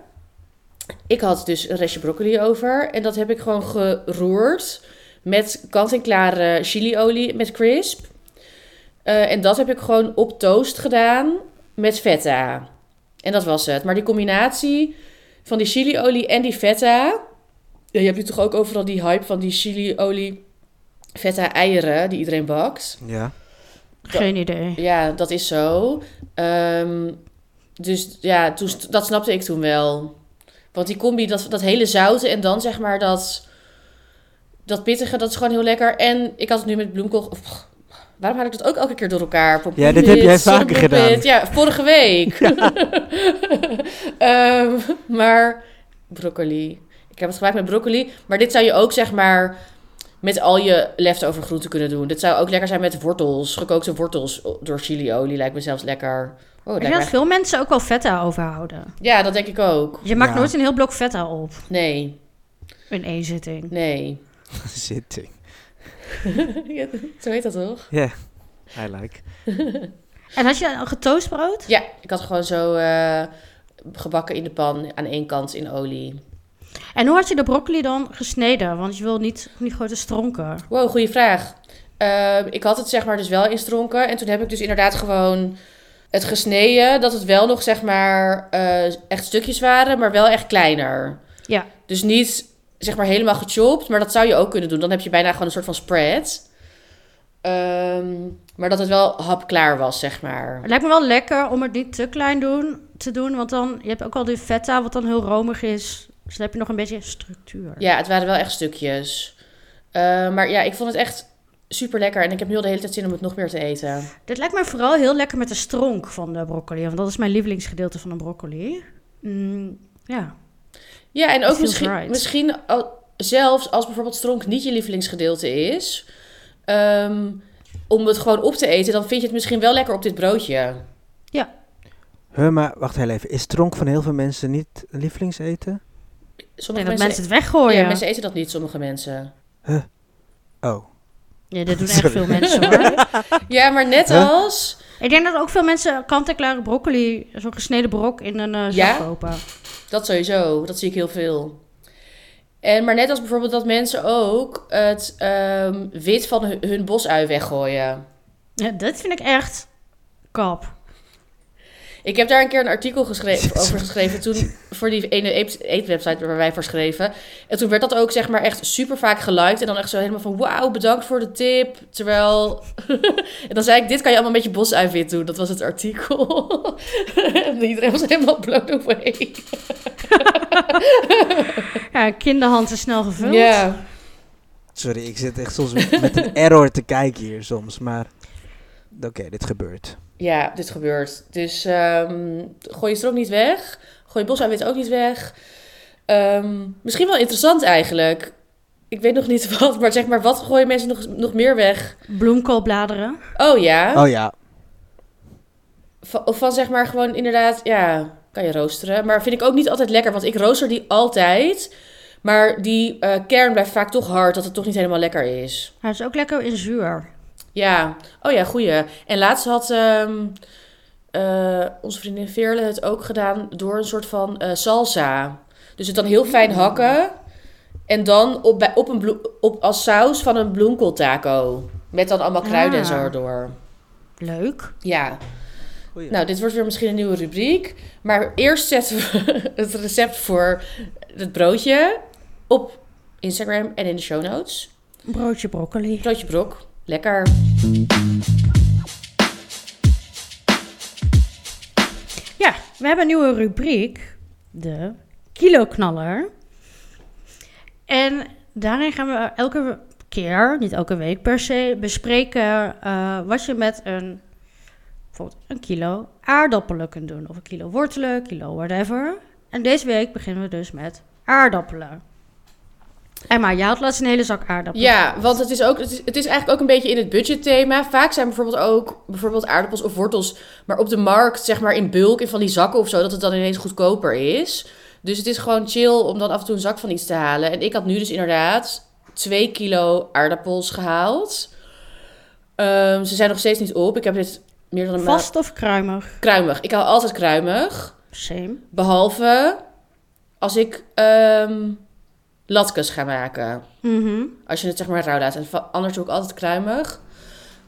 Ik had dus een restje broccoli over en dat heb ik gewoon geroerd met kant-en-klare chiliolie met crisp. Eh, en dat heb ik gewoon op toast gedaan met feta. En dat was het. Maar die combinatie van die chiliolie en die feta, ja, je hebt nu toch ook overal die hype van die chili-olie feta eieren die iedereen bakt. Ja. Geen idee. Ja, dat is zo. Ehm, dus ja, toen, st- dat snapte ik toen wel. Want die combi, dat, dat hele zoute en dan zeg maar dat, dat pittige, dat is gewoon heel lekker. En ik had het nu met bloemkool... of, pff, waarom haal ik dat ook elke keer door elkaar? Pompoenpit, Ja, dit heb jij vaker zonnebloempit. gedaan. Ja, vorige week. Ehm, maar broccoli. Ik heb het gemaakt met broccoli. Maar dit zou je ook zeg maar met al je leftover groenten kunnen doen. Dat zou ook lekker zijn met wortels, gekookte wortels door chiliolie. Lijkt me zelfs lekker. Oh, lijkt Ik denk me dat echt- veel mensen ook wel feta overhouden. Dus Ja, dat denk ik ook. Je maakt Ja. nooit een heel blok feta op Nee, in één zitting. nee. Zitting. Ja, Zo heet dat toch? I like. En had je een getoast brood? Ja, ik had gewoon zo eh, gebakken in de pan aan één kant in olie. En hoe had je de broccoli dan gesneden? Want je wil niet, niet grote stronken. Wow, goede vraag. Ehm, ik had het zeg maar dus wel instronken. En toen heb ik dus inderdaad gewoon het gesneden. Dat het wel nog zeg maar eh, echt stukjes waren, maar wel echt kleiner. Ja. Dus niet zeg maar helemaal gechopt, maar dat zou je ook kunnen doen. Dan heb je bijna gewoon een soort van spread. Ehm, maar dat het wel hapklaar was, zeg maar. Het lijkt me wel lekker om het niet te klein doen, te doen. Want dan, je hebt ook al die feta, wat dan heel romig is. Dus dan heb je nog een beetje structuur. Ja, het waren wel echt stukjes. Eh, maar ja, ik vond het echt super lekker. En ik heb nu al de hele tijd zin om het nog meer te eten. Dit lijkt mij vooral heel lekker met de stronk van de broccoli. Want dat is mijn lievelingsgedeelte van de broccoli. Mm, ja. Ja, en ook Feels misschien, right. misschien al- zelfs als bijvoorbeeld stronk niet je lievelingsgedeelte is, ehm, om het gewoon op te eten, dan vind je het misschien wel lekker op dit broodje. Huh, maar wacht heel even. Is tronk van heel veel mensen niet een lievelingseten? Ik denk Sommige dat mensen, mensen het weggooien. ja, mensen eten dat niet, sommige mensen. Oh. Ja, dit doen echt Sorry. veel mensen hoor. Ja, maar net Huh? als. Ik denk dat ook veel mensen kant-en-klare broccoli, zo'n gesneden brok in een eh zak Ja? kopen. Dat sowieso, dat zie ik heel veel. En, maar net als bijvoorbeeld dat mensen ook het ehm, wit van hun, hun bosui weggooien. Ja, dat vind ik echt kap. Ik heb daar een keer een artikel geschreven, Jezus. over geschreven toen voor die ene eet- eetwebsite waar wij voor schreven. En toen werd dat ook zeg maar echt super vaak geliked en dan echt zo helemaal van wauw, bedankt voor de tip. Terwijl en dan zei ik dit kan je allemaal met je bosuivit doen. Dat was het artikel. en iedereen was helemaal blown away. Ja, kinderhand is snel gevuld. Ja. Sorry, ik zit echt soms met een error te kijken hier soms. Maar oké, dit gebeurt. Ja, dit gebeurt. Dus ehm, gooi je strook niet weg. Gooi je bosuivit ook niet weg. Ehm, misschien wel interessant eigenlijk. Ik weet nog niet wat, maar zeg maar, wat gooien mensen nog, nog meer weg? Bloemkoolbladeren. Oh ja. Oh ja. Va- Of van zeg maar gewoon inderdaad, ja, kan je roosteren. Maar vind ik ook niet altijd lekker, want ik rooster die altijd. Maar die eh, kern blijft vaak toch hard, dat het toch niet helemaal lekker is. Hij is ook lekker in zuur. Ja, oh ja, goeie. En laatst had ehm, eh, onze vriendin Veerle het ook gedaan door een soort van eh, salsa. Dus het dan heel fijn hakken. En dan op, bij, op een bloe- op, als saus van een bloemkooltaco. Met dan allemaal kruiden en zo Ah. erdoor. Leuk. Ja, Goeie. Nou, dit wordt weer misschien een nieuwe rubriek. Maar eerst zetten we het recept voor het broodje op Instagram en in de show notes. Broodje broccoli. Broodje brok, lekker. Ja, we hebben een nieuwe rubriek. De kiloknaller. En daarin gaan we elke keer, niet elke week per se, bespreken eh, wat je met een, bijvoorbeeld een kilo aardappelen kunt doen. Of een kilo wortelen, kilo whatever. En deze week beginnen we dus met aardappelen. Emma, jij had laatst een hele zak aardappelen. Ja, want het is, ook, het, is, het is eigenlijk ook een beetje in het budgetthema. Vaak zijn bijvoorbeeld ook bijvoorbeeld aardappels of wortels, maar op de markt, zeg maar in bulk, in van die zakken of zo, dat het dan ineens goedkoper is. Dus het is gewoon chill om dan af en toe een zak van iets te halen. En ik had nu dus inderdaad 2 kilo aardappels gehaald. Ehm, ze zijn nog steeds niet op. Ik heb dit meer dan een maand... Vast of kruimig? Kruimig. Ik hou altijd kruimig. Same. Behalve als ik ehm latkes ga maken. Mhm. Als je het zeg maar rauw laat. En va- anders doe ik altijd kruimig.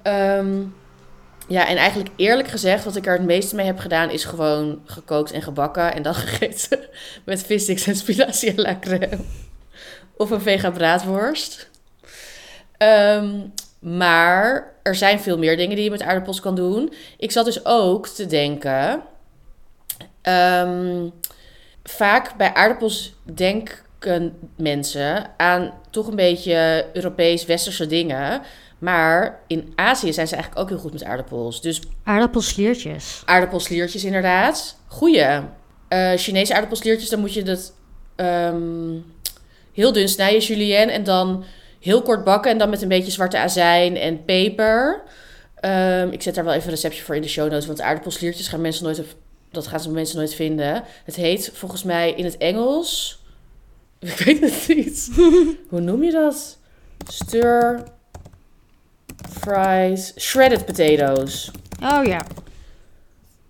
Ehm, ja, en eigenlijk eerlijk gezegd, wat ik er het meeste mee heb gedaan, is gewoon gekookt en gebakken. En dan gegeten met vissticks en spinazie à la crème. Of een vegan braadworst. Ehm, maar er zijn veel meer dingen die je met aardappels kan doen. Ik zat dus ook te denken. ehm, vaak bij aardappels denken mensen aan toch een beetje Europees-Westerse dingen. Maar in Azië zijn ze eigenlijk ook heel goed met aardappels. Dus Aardappelsliertjes. aardappelsliertjes inderdaad. Goeie. Eh, Chinese aardappelsliertjes, dan moet je dat ehm, heel dun snijden, julienne. En dan heel kort bakken en dan met een beetje zwarte azijn en peper. Ehm, ik zet daar wel even een receptje voor in de show notes, want aardappelsliertjes gaan mensen nooit op, dat gaan ze mensen nooit vinden. Het heet volgens mij in het Engels, ik weet het niet. Hoe noem je dat? Stir fries, shredded potatoes. Oh ja.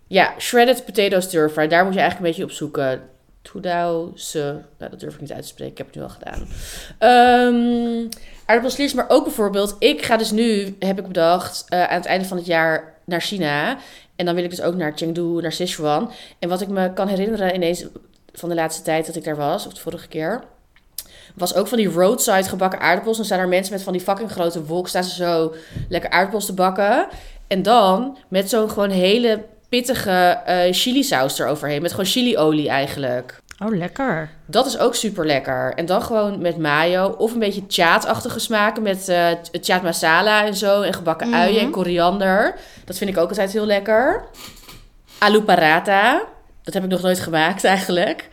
Ja, shredded potato stir fry. Daar moet je eigenlijk een beetje op zoeken. Toedao se. Nou, dat durf ik niet uit te spreken. Ik heb het nu al gedaan. Ehm aardappelsliers, maar ook bijvoorbeeld... Ik ga dus nu, heb ik bedacht, eh, aan het einde van het jaar naar China. En dan wil ik dus ook naar Chengdu, naar Sichuan. En wat ik me kan herinneren ineens van de laatste tijd dat ik daar was... Of de vorige keer... Was ook van die roadside gebakken aardappels. Dan staan er mensen met van die fucking grote wok. Staan ze zo lekker aardappels te bakken. En dan met zo'n gewoon hele pittige chili chilisaus eroverheen. Met gewoon chiliolie eigenlijk. Oh, lekker. Dat is ook super lekker. En dan gewoon met mayo of een beetje chaatachtige smaken met eh chaat masala en zo. En gebakken Mhm. uien en koriander. Dat vind ik ook altijd heel lekker. Alu paratha. Dat heb ik nog nooit gemaakt eigenlijk.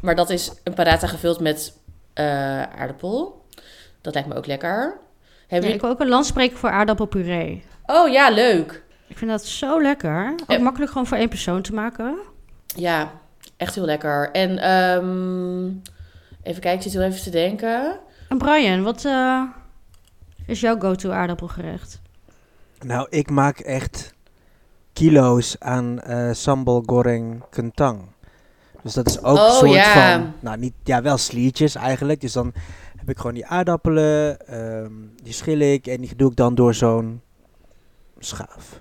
Maar dat is een paratha gevuld met eh, aardappel. Dat lijkt me ook lekker. Hebben Ja, jullie- ik wil ook een land spreken voor aardappelpuree. Oh ja, leuk. Ik vind dat zo lekker. Ook Eh. makkelijk gewoon voor één persoon te maken. Ja, echt heel lekker. En ehm, even kijken, ik zit heel even te denken. En Brian, wat eh, is jouw go-to aardappelgerecht? Nou, ik maak echt kilo's aan eh, sambal goreng kentang. Dus dat is ook Oh, een soort ja. van, nou niet, ja wel sliertjes eigenlijk. Dus dan heb ik gewoon die aardappelen, ehm, die schil ik en die doe ik dan door zo'n schaaf.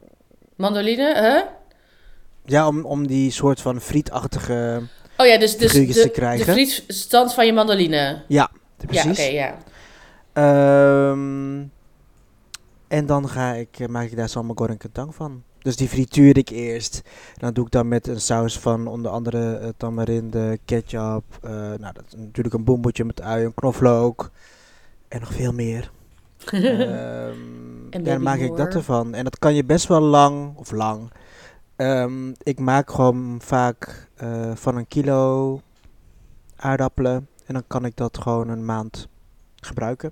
Mandoline, hè? Ja, om, om die soort van frietachtige, Oh ja, dus, dus de, Figuurtjes te de krijgen. frietstand van je mandoline. precies. Ja, oké, ja. Ehm, en dan ga ik, eh, maak ik daar sambal goreng kentang van. Dus die frituur ik eerst. En dan doe ik dan met een saus van onder andere eh, tamarinde, ketchup. eh, nou, dat is natuurlijk een boembotje met ui, een knoflook. En nog veel meer. Ehm, ja, baby dan Ehm, maak ik dat boer. ervan. En dat kan je best wel lang, of lang. Ehm, ik maak gewoon vaak eh, van een kilo aardappelen. En dan kan ik dat gewoon een maand gebruiken.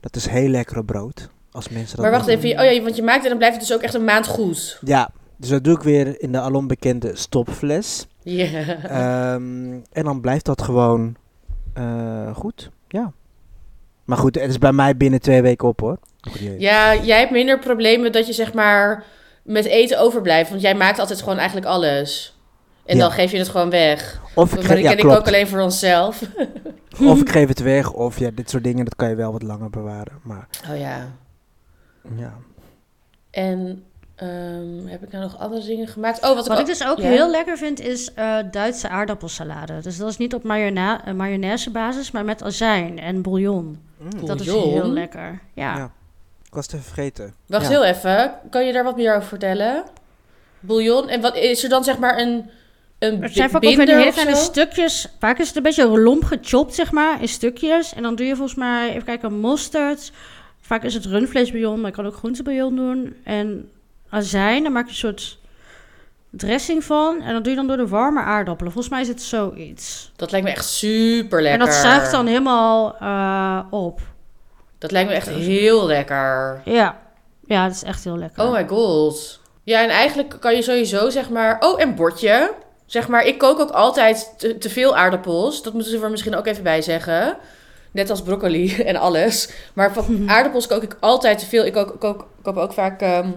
Dat is heel lekker op brood. Als mensen dat maar wacht willen. even, je- oh ja, want je maakt het en dan blijft het dus ook echt een maand goed. Ja, dus dat doe ik weer in de alom bekende stopfles. Ja. Uh-huh. Ehm, en dan blijft dat gewoon eh, goed. Ja. Maar goed, het is bij mij binnen twee weken op hoor. Goed idee. ja, jij hebt minder problemen dat je zeg maar met eten overblijft. Want jij maakt altijd gewoon eigenlijk alles. En Ja. dan geef je het gewoon weg. Of ik, Maar ge- die ja, ken ik ook klopt. alleen voor onszelf. of ik geef het weg, of ja, dit soort dingen, dat kan je wel wat langer bewaren. Maar Oh ja. ja. En ehm, heb ik nou nog andere dingen gemaakt? Oh, wat, Wat ik, ik dus ook ja. heel lekker vind, is eh, Duitse aardappelsalade. Dus dat is niet op mayona- eh, mayonaise basis, maar met azijn en bouillon. Dat is Bouillon? heel lekker. Ja. Ja. Ik was het even vergeten. Wacht Ja. heel even. Kan je daar wat meer over vertellen? Bouillon. En wat is er dan zeg maar een, een Er zijn bi- vaak ook weer die binder hele of kleine zo? stukjes. Vaak is het een beetje lomp gechopt, zeg maar, in stukjes. En dan doe je volgens mij, even kijken, mosterd. Vaak is het rundvleesbouillon, maar je kan ook groentebouillon doen. En azijn, daar maak je een soort dressing van. En dat doe je dan door de warme aardappelen. Volgens mij is het zoiets. Dat lijkt me echt super lekker. En dat zuigt dan helemaal eh, op. Dat lijkt me echt heel lekker. Ja. ja, dat is echt heel lekker. Oh my god. Ja, en eigenlijk kan je sowieso zeg maar... Oh, en bordje. Zeg maar, ik kook ook altijd te, te veel aardappels. Dat moeten ze er misschien ook even bij zeggen. Net als broccoli en alles. Maar van aardappels kook ik altijd te veel. Ik kook, kook, koop ook vaak ehm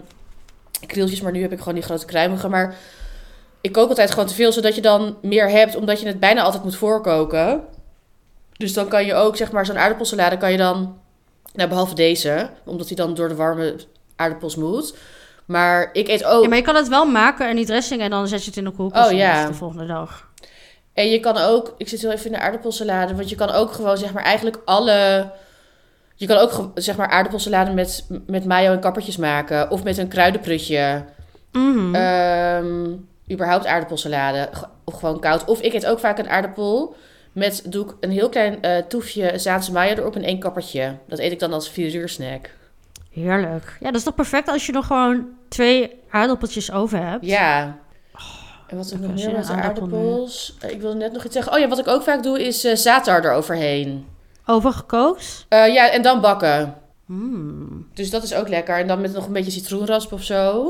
krieltjes, maar nu heb ik gewoon die grote kruimige. Maar ik kook altijd gewoon te veel, zodat je dan meer hebt, omdat je het bijna altijd moet voorkoken. Dus dan kan je ook, zeg maar, zo'n aardappelsalade kan je dan... Nou, behalve deze, omdat die dan door de warme aardappels moet. Maar ik eet ook... Ja, maar je kan het wel maken en die dressing en dan zet je het in de koelkast Oh, en ja. dat is de volgende dag. En je kan ook, ik zit heel even in de aardappelsalade, want je kan ook gewoon zeg maar eigenlijk alle, je kan ook ge- zeg maar aardappelsalade met, met mayo en kappertjes maken. Of met een kruidenprutje. Mhm. Ehm, überhaupt aardappelsalade, ge- of gewoon koud. Of ik eet ook vaak een aardappel met, doe ik een heel klein eh, toefje Zaanse mayo erop en één kappertje. Dat eet ik dan als vier uur snack. Heerlijk. Ja, dat is toch perfect als je nog gewoon twee aardappeltjes over hebt. Ja. En wat ik nog als je meer met de een aardappel aardappels? Eh, Ik wilde net nog iets zeggen. Oh ja, wat ik ook vaak doe is eh zaatar eroverheen. Overgekookt? Eh, ja, en dan bakken. Mm. Dus dat is ook lekker. En dan met nog een beetje citroenrasp of zo.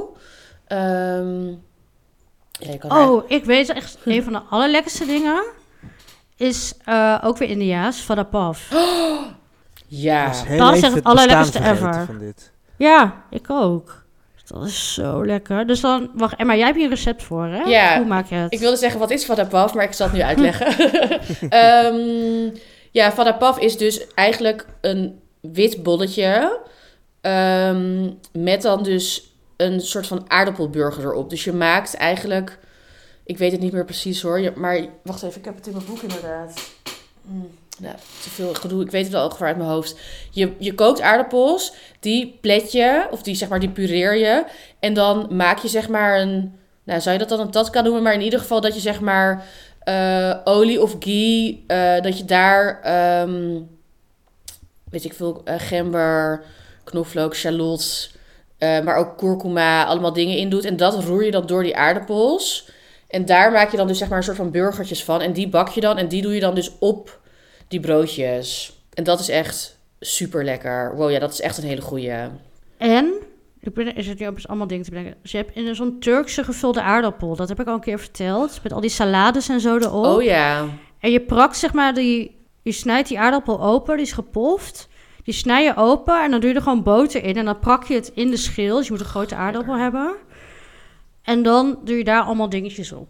Ehm, ja, je kan eigenlijk- Oh, ik weet echt, een van de allerlekkerste dingen is eh, ook weer Indiaas, vadapav. Ja. is heel Dat is even echt het bestaan allerlekkerste vergeten ever. Van dit. Ja, ik ook. Dat is zo lekker. Dus dan, wacht, Emma, jij hebt hier een recept voor, hè? Ja, Hoe maak je het? Ik wilde zeggen, wat is Vadapaf? Maar ik zal het nu uitleggen. Ehm ja, Vadapaf is dus eigenlijk een wit bolletje. ehm, met dan dus een soort van aardappelburger erop. Dus je maakt eigenlijk... Ik weet het niet meer precies hoor. je- Maar wacht even, ik heb het in mijn boek inderdaad. Mm, nou, te veel gedoe. Ik weet het wel ongeveer uit mijn hoofd. Je, je kookt aardappels, die plet je, of die zeg maar, die pureer je. En dan maak je zeg maar een... Nou, zou je dat dan een tat kan noemen, maar in ieder geval dat je zeg maar eh, olie of ghee, eh, dat je daar, ehm, weet ik veel, eh, gember, knoflook, shallot, eh, maar ook kurkuma, allemaal dingen in doet. En dat roer je dan door die aardappels. En daar maak je dan dus zeg maar een soort van burgertjes van. En die bak je dan en die doe je dan dus op die broodjes. En dat is echt super lekker. Wow, ja, dat is echt een hele goeie. En, ik ben, is het nu opeens allemaal dingen te bedenken. Dus je hebt in zo'n Turkse gevulde aardappel, dat heb ik al een keer verteld, met al die salades en zo erop. Oh ja. En je prakt zeg maar die, je snijdt die aardappel open, die is gepoft. Die snij je open en dan doe je er gewoon boter in. En dan prak je het in de schil, dus je moet een grote aardappel hebben. En dan doe je daar allemaal dingetjes op.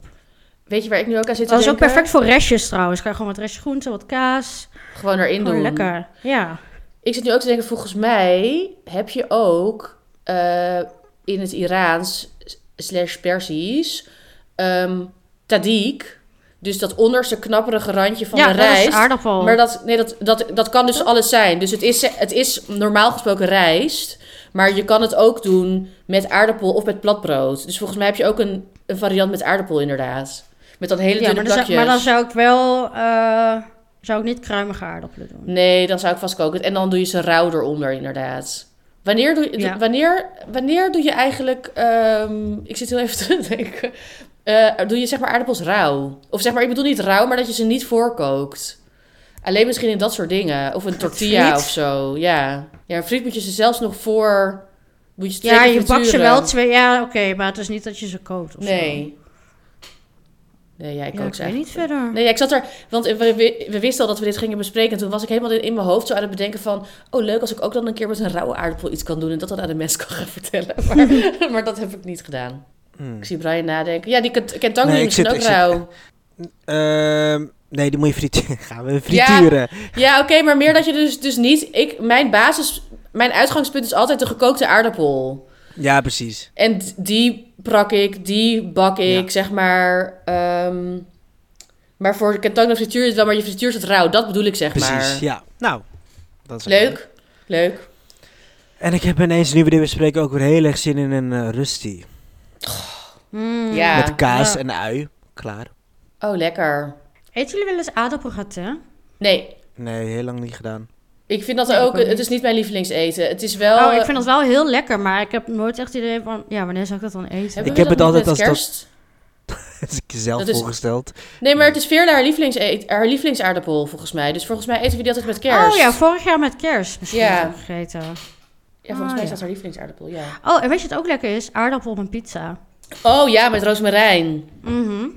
Weet je waar ik nu ook aan zit te Dat is ook denken? perfect voor restjes trouwens. Kan je gewoon wat restjes groenten, wat kaas. Gewoon erin Gewoon doen. Oh, lekker. Ja. Ik zit nu ook te denken, volgens mij heb je ook eh, in het Iraans slash Persisch ehm tadik. Dus dat onderste knapperige randje van ja, de dat is rijst. aardappel. maar dat, nee, dat, dat, dat kan dus alles zijn. Dus het is, het is normaal gesproken rijst. Maar je kan het ook doen met aardappel of met platbrood. Dus volgens mij heb je ook een, een variant met aardappel inderdaad. Met dat hele dunne ja, maar, dan zou, plakjes. maar dan zou ik wel... eh, zou ik niet kruimige aardappelen doen. Nee, dan zou ik vast koken. En dan doe je ze rauw eronder, inderdaad. Wanneer doe je, Ja. wanneer, wanneer doe je eigenlijk... ehm, ik zit heel even te denken. Eh, doe je zeg maar aardappels rauw? Of zeg maar, ik bedoel niet rauw, maar dat je ze niet voorkookt. Alleen misschien in dat soort dingen. Of een tortilla friet. of zo, ja. Ja, een friet moet je ze zelfs nog voor... Moet je ze Ja, twee je keer bakt ze frituren. wel twee... Ja, oké, maar het is niet dat je ze kookt of zo. Nee. Nee, ja, ik Ja, kook ik ze weet eigenlijk niet verder. Nee, ja, ik zat er, want we, we- we wisten al dat we dit gingen bespreken. En toen was ik helemaal in, in mijn hoofd zo aan het bedenken van... oh, leuk als ik ook dan een keer met een rauwe aardappel iets kan doen... en dat dan aan de mensen kan gaan vertellen. Maar, maar dat heb ik niet gedaan. Hmm. Ik zie Brian nadenken. Ja, die kent- kentangri Nee, ik misschien zit- ook ik zit- rauw. Ehm, nee, die moet je frituren. Gaan we frituren. Ja, oké, maar meer dat je dus, dus niet... Ik, mijn basis, mijn uitgangspunt is altijd de gekookte aardappel. Ja, precies. En d- die prak ik, die bak ik, Ja. zeg maar... ehm, maar voor kentangri frituur je het wel, maar je frituurt het rauw. Dat bedoel ik, zeg maar. Precies, ja. Nou, dat is Leuk, leuk. En ik heb ineens, nu we dit bespreken, ook weer heel erg zin in een eh rustie. Mm. Ja. Met kaas Ja. en ui. Klaar. Oh, lekker. Eten jullie wel eens aardappelgratin? Nee, Nee, heel lang niet gedaan. ik vind dat Nee, ook... ik ook Het niet. is niet mijn lievelingseten. Het is wel... Oh, ik eh, vind dat wel heel lekker, maar ik heb nooit echt het idee van... Ja, wanneer zou ik dat dan eten? hebben Ik we heb het dat niet altijd met als dat- kerst? Dat is ik zelf Dat is- voorgesteld. Nee, maar het is Veerle haar, lievelingse- eh, haar lievelingsaardappel, volgens mij. Dus volgens mij eten we die altijd met kerst. Oh ja, vorig jaar met kerst misschien Ja. heb ik gegeten. Ja, volgens Ah, mij is ja. dat haar lievelingsaardappel, ja. Oh, en weet je wat ook lekker is? Aardappel op een pizza. Oh ja, met roosmarijn. Mhm.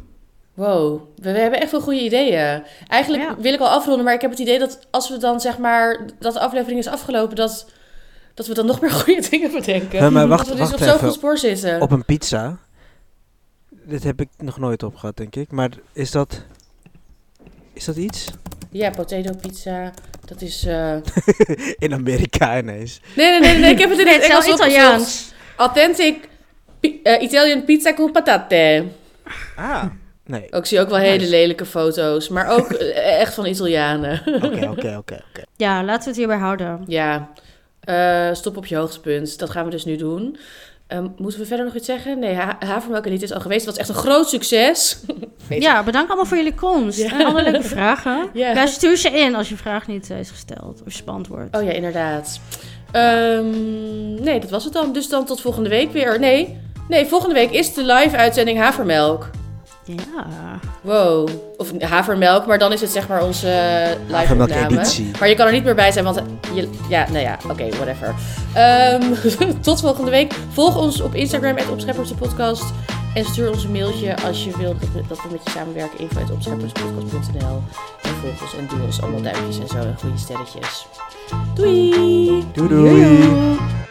Wow, we, we hebben echt veel goede ideeën. Eigenlijk Ja. wil ik al afronden, maar ik heb het idee dat als we dan zeg maar... dat de aflevering is afgelopen, dat, dat we dan nog meer goede dingen bedenken. Hé, maar wacht- dat we dus wacht op zo'n even. goed spoor zitten. Op een pizza. Dit heb ik nog nooit op gehad, denk ik. Maar is dat... Is dat iets? Ja, potato pizza, dat is... eh, In Amerika ineens. Nee, nee, nee, nee, ik heb het in Nee, het het is Engels wel opgezocht. Italiaans. Authentic pi- eh, Italian pizza con patate. Ah. Nee. Ook zie ook wel hele Nice. lelijke foto's, maar ook eh, echt van Italianen. Oké, oké, oké. oké. Ja, laten we het hierbij houden. ja, Eh, stop op je hoogtepunt. Dat gaan we dus nu doen. Ehm, moeten we verder nog iets zeggen? Nee, ha havermelk en niet is al geweest. Dat was echt een groot succes. Weet Ja, bedankt allemaal voor jullie komst Ja. en alle leuke vragen. Ja. Ja, stuur ze in als je vraag niet eh, is gesteld of is beantwoord. Oh ja, inderdaad. Ehm, nee, dat was het dan. Dus dan tot volgende week weer. Nee, nee volgende week is de live-uitzending Havermelk. Ja. Wow. Of havermelk, maar dan is het zeg maar onze eh, live Havermelk opname. editie. Maar je kan er niet meer bij zijn, want je, ja, nou ja, oké, whatever. Ehm, tot volgende week. Volg ons op Instagram, het Opscheppers de podcast. En stuur ons een mailtje als je wilt dat we, dat we met je samenwerken. Info at opschepperspodcast.nl En volg ons en doe ons allemaal duimpjes en zo en goede sterretjes. Doei! Doei doei. Joejoe.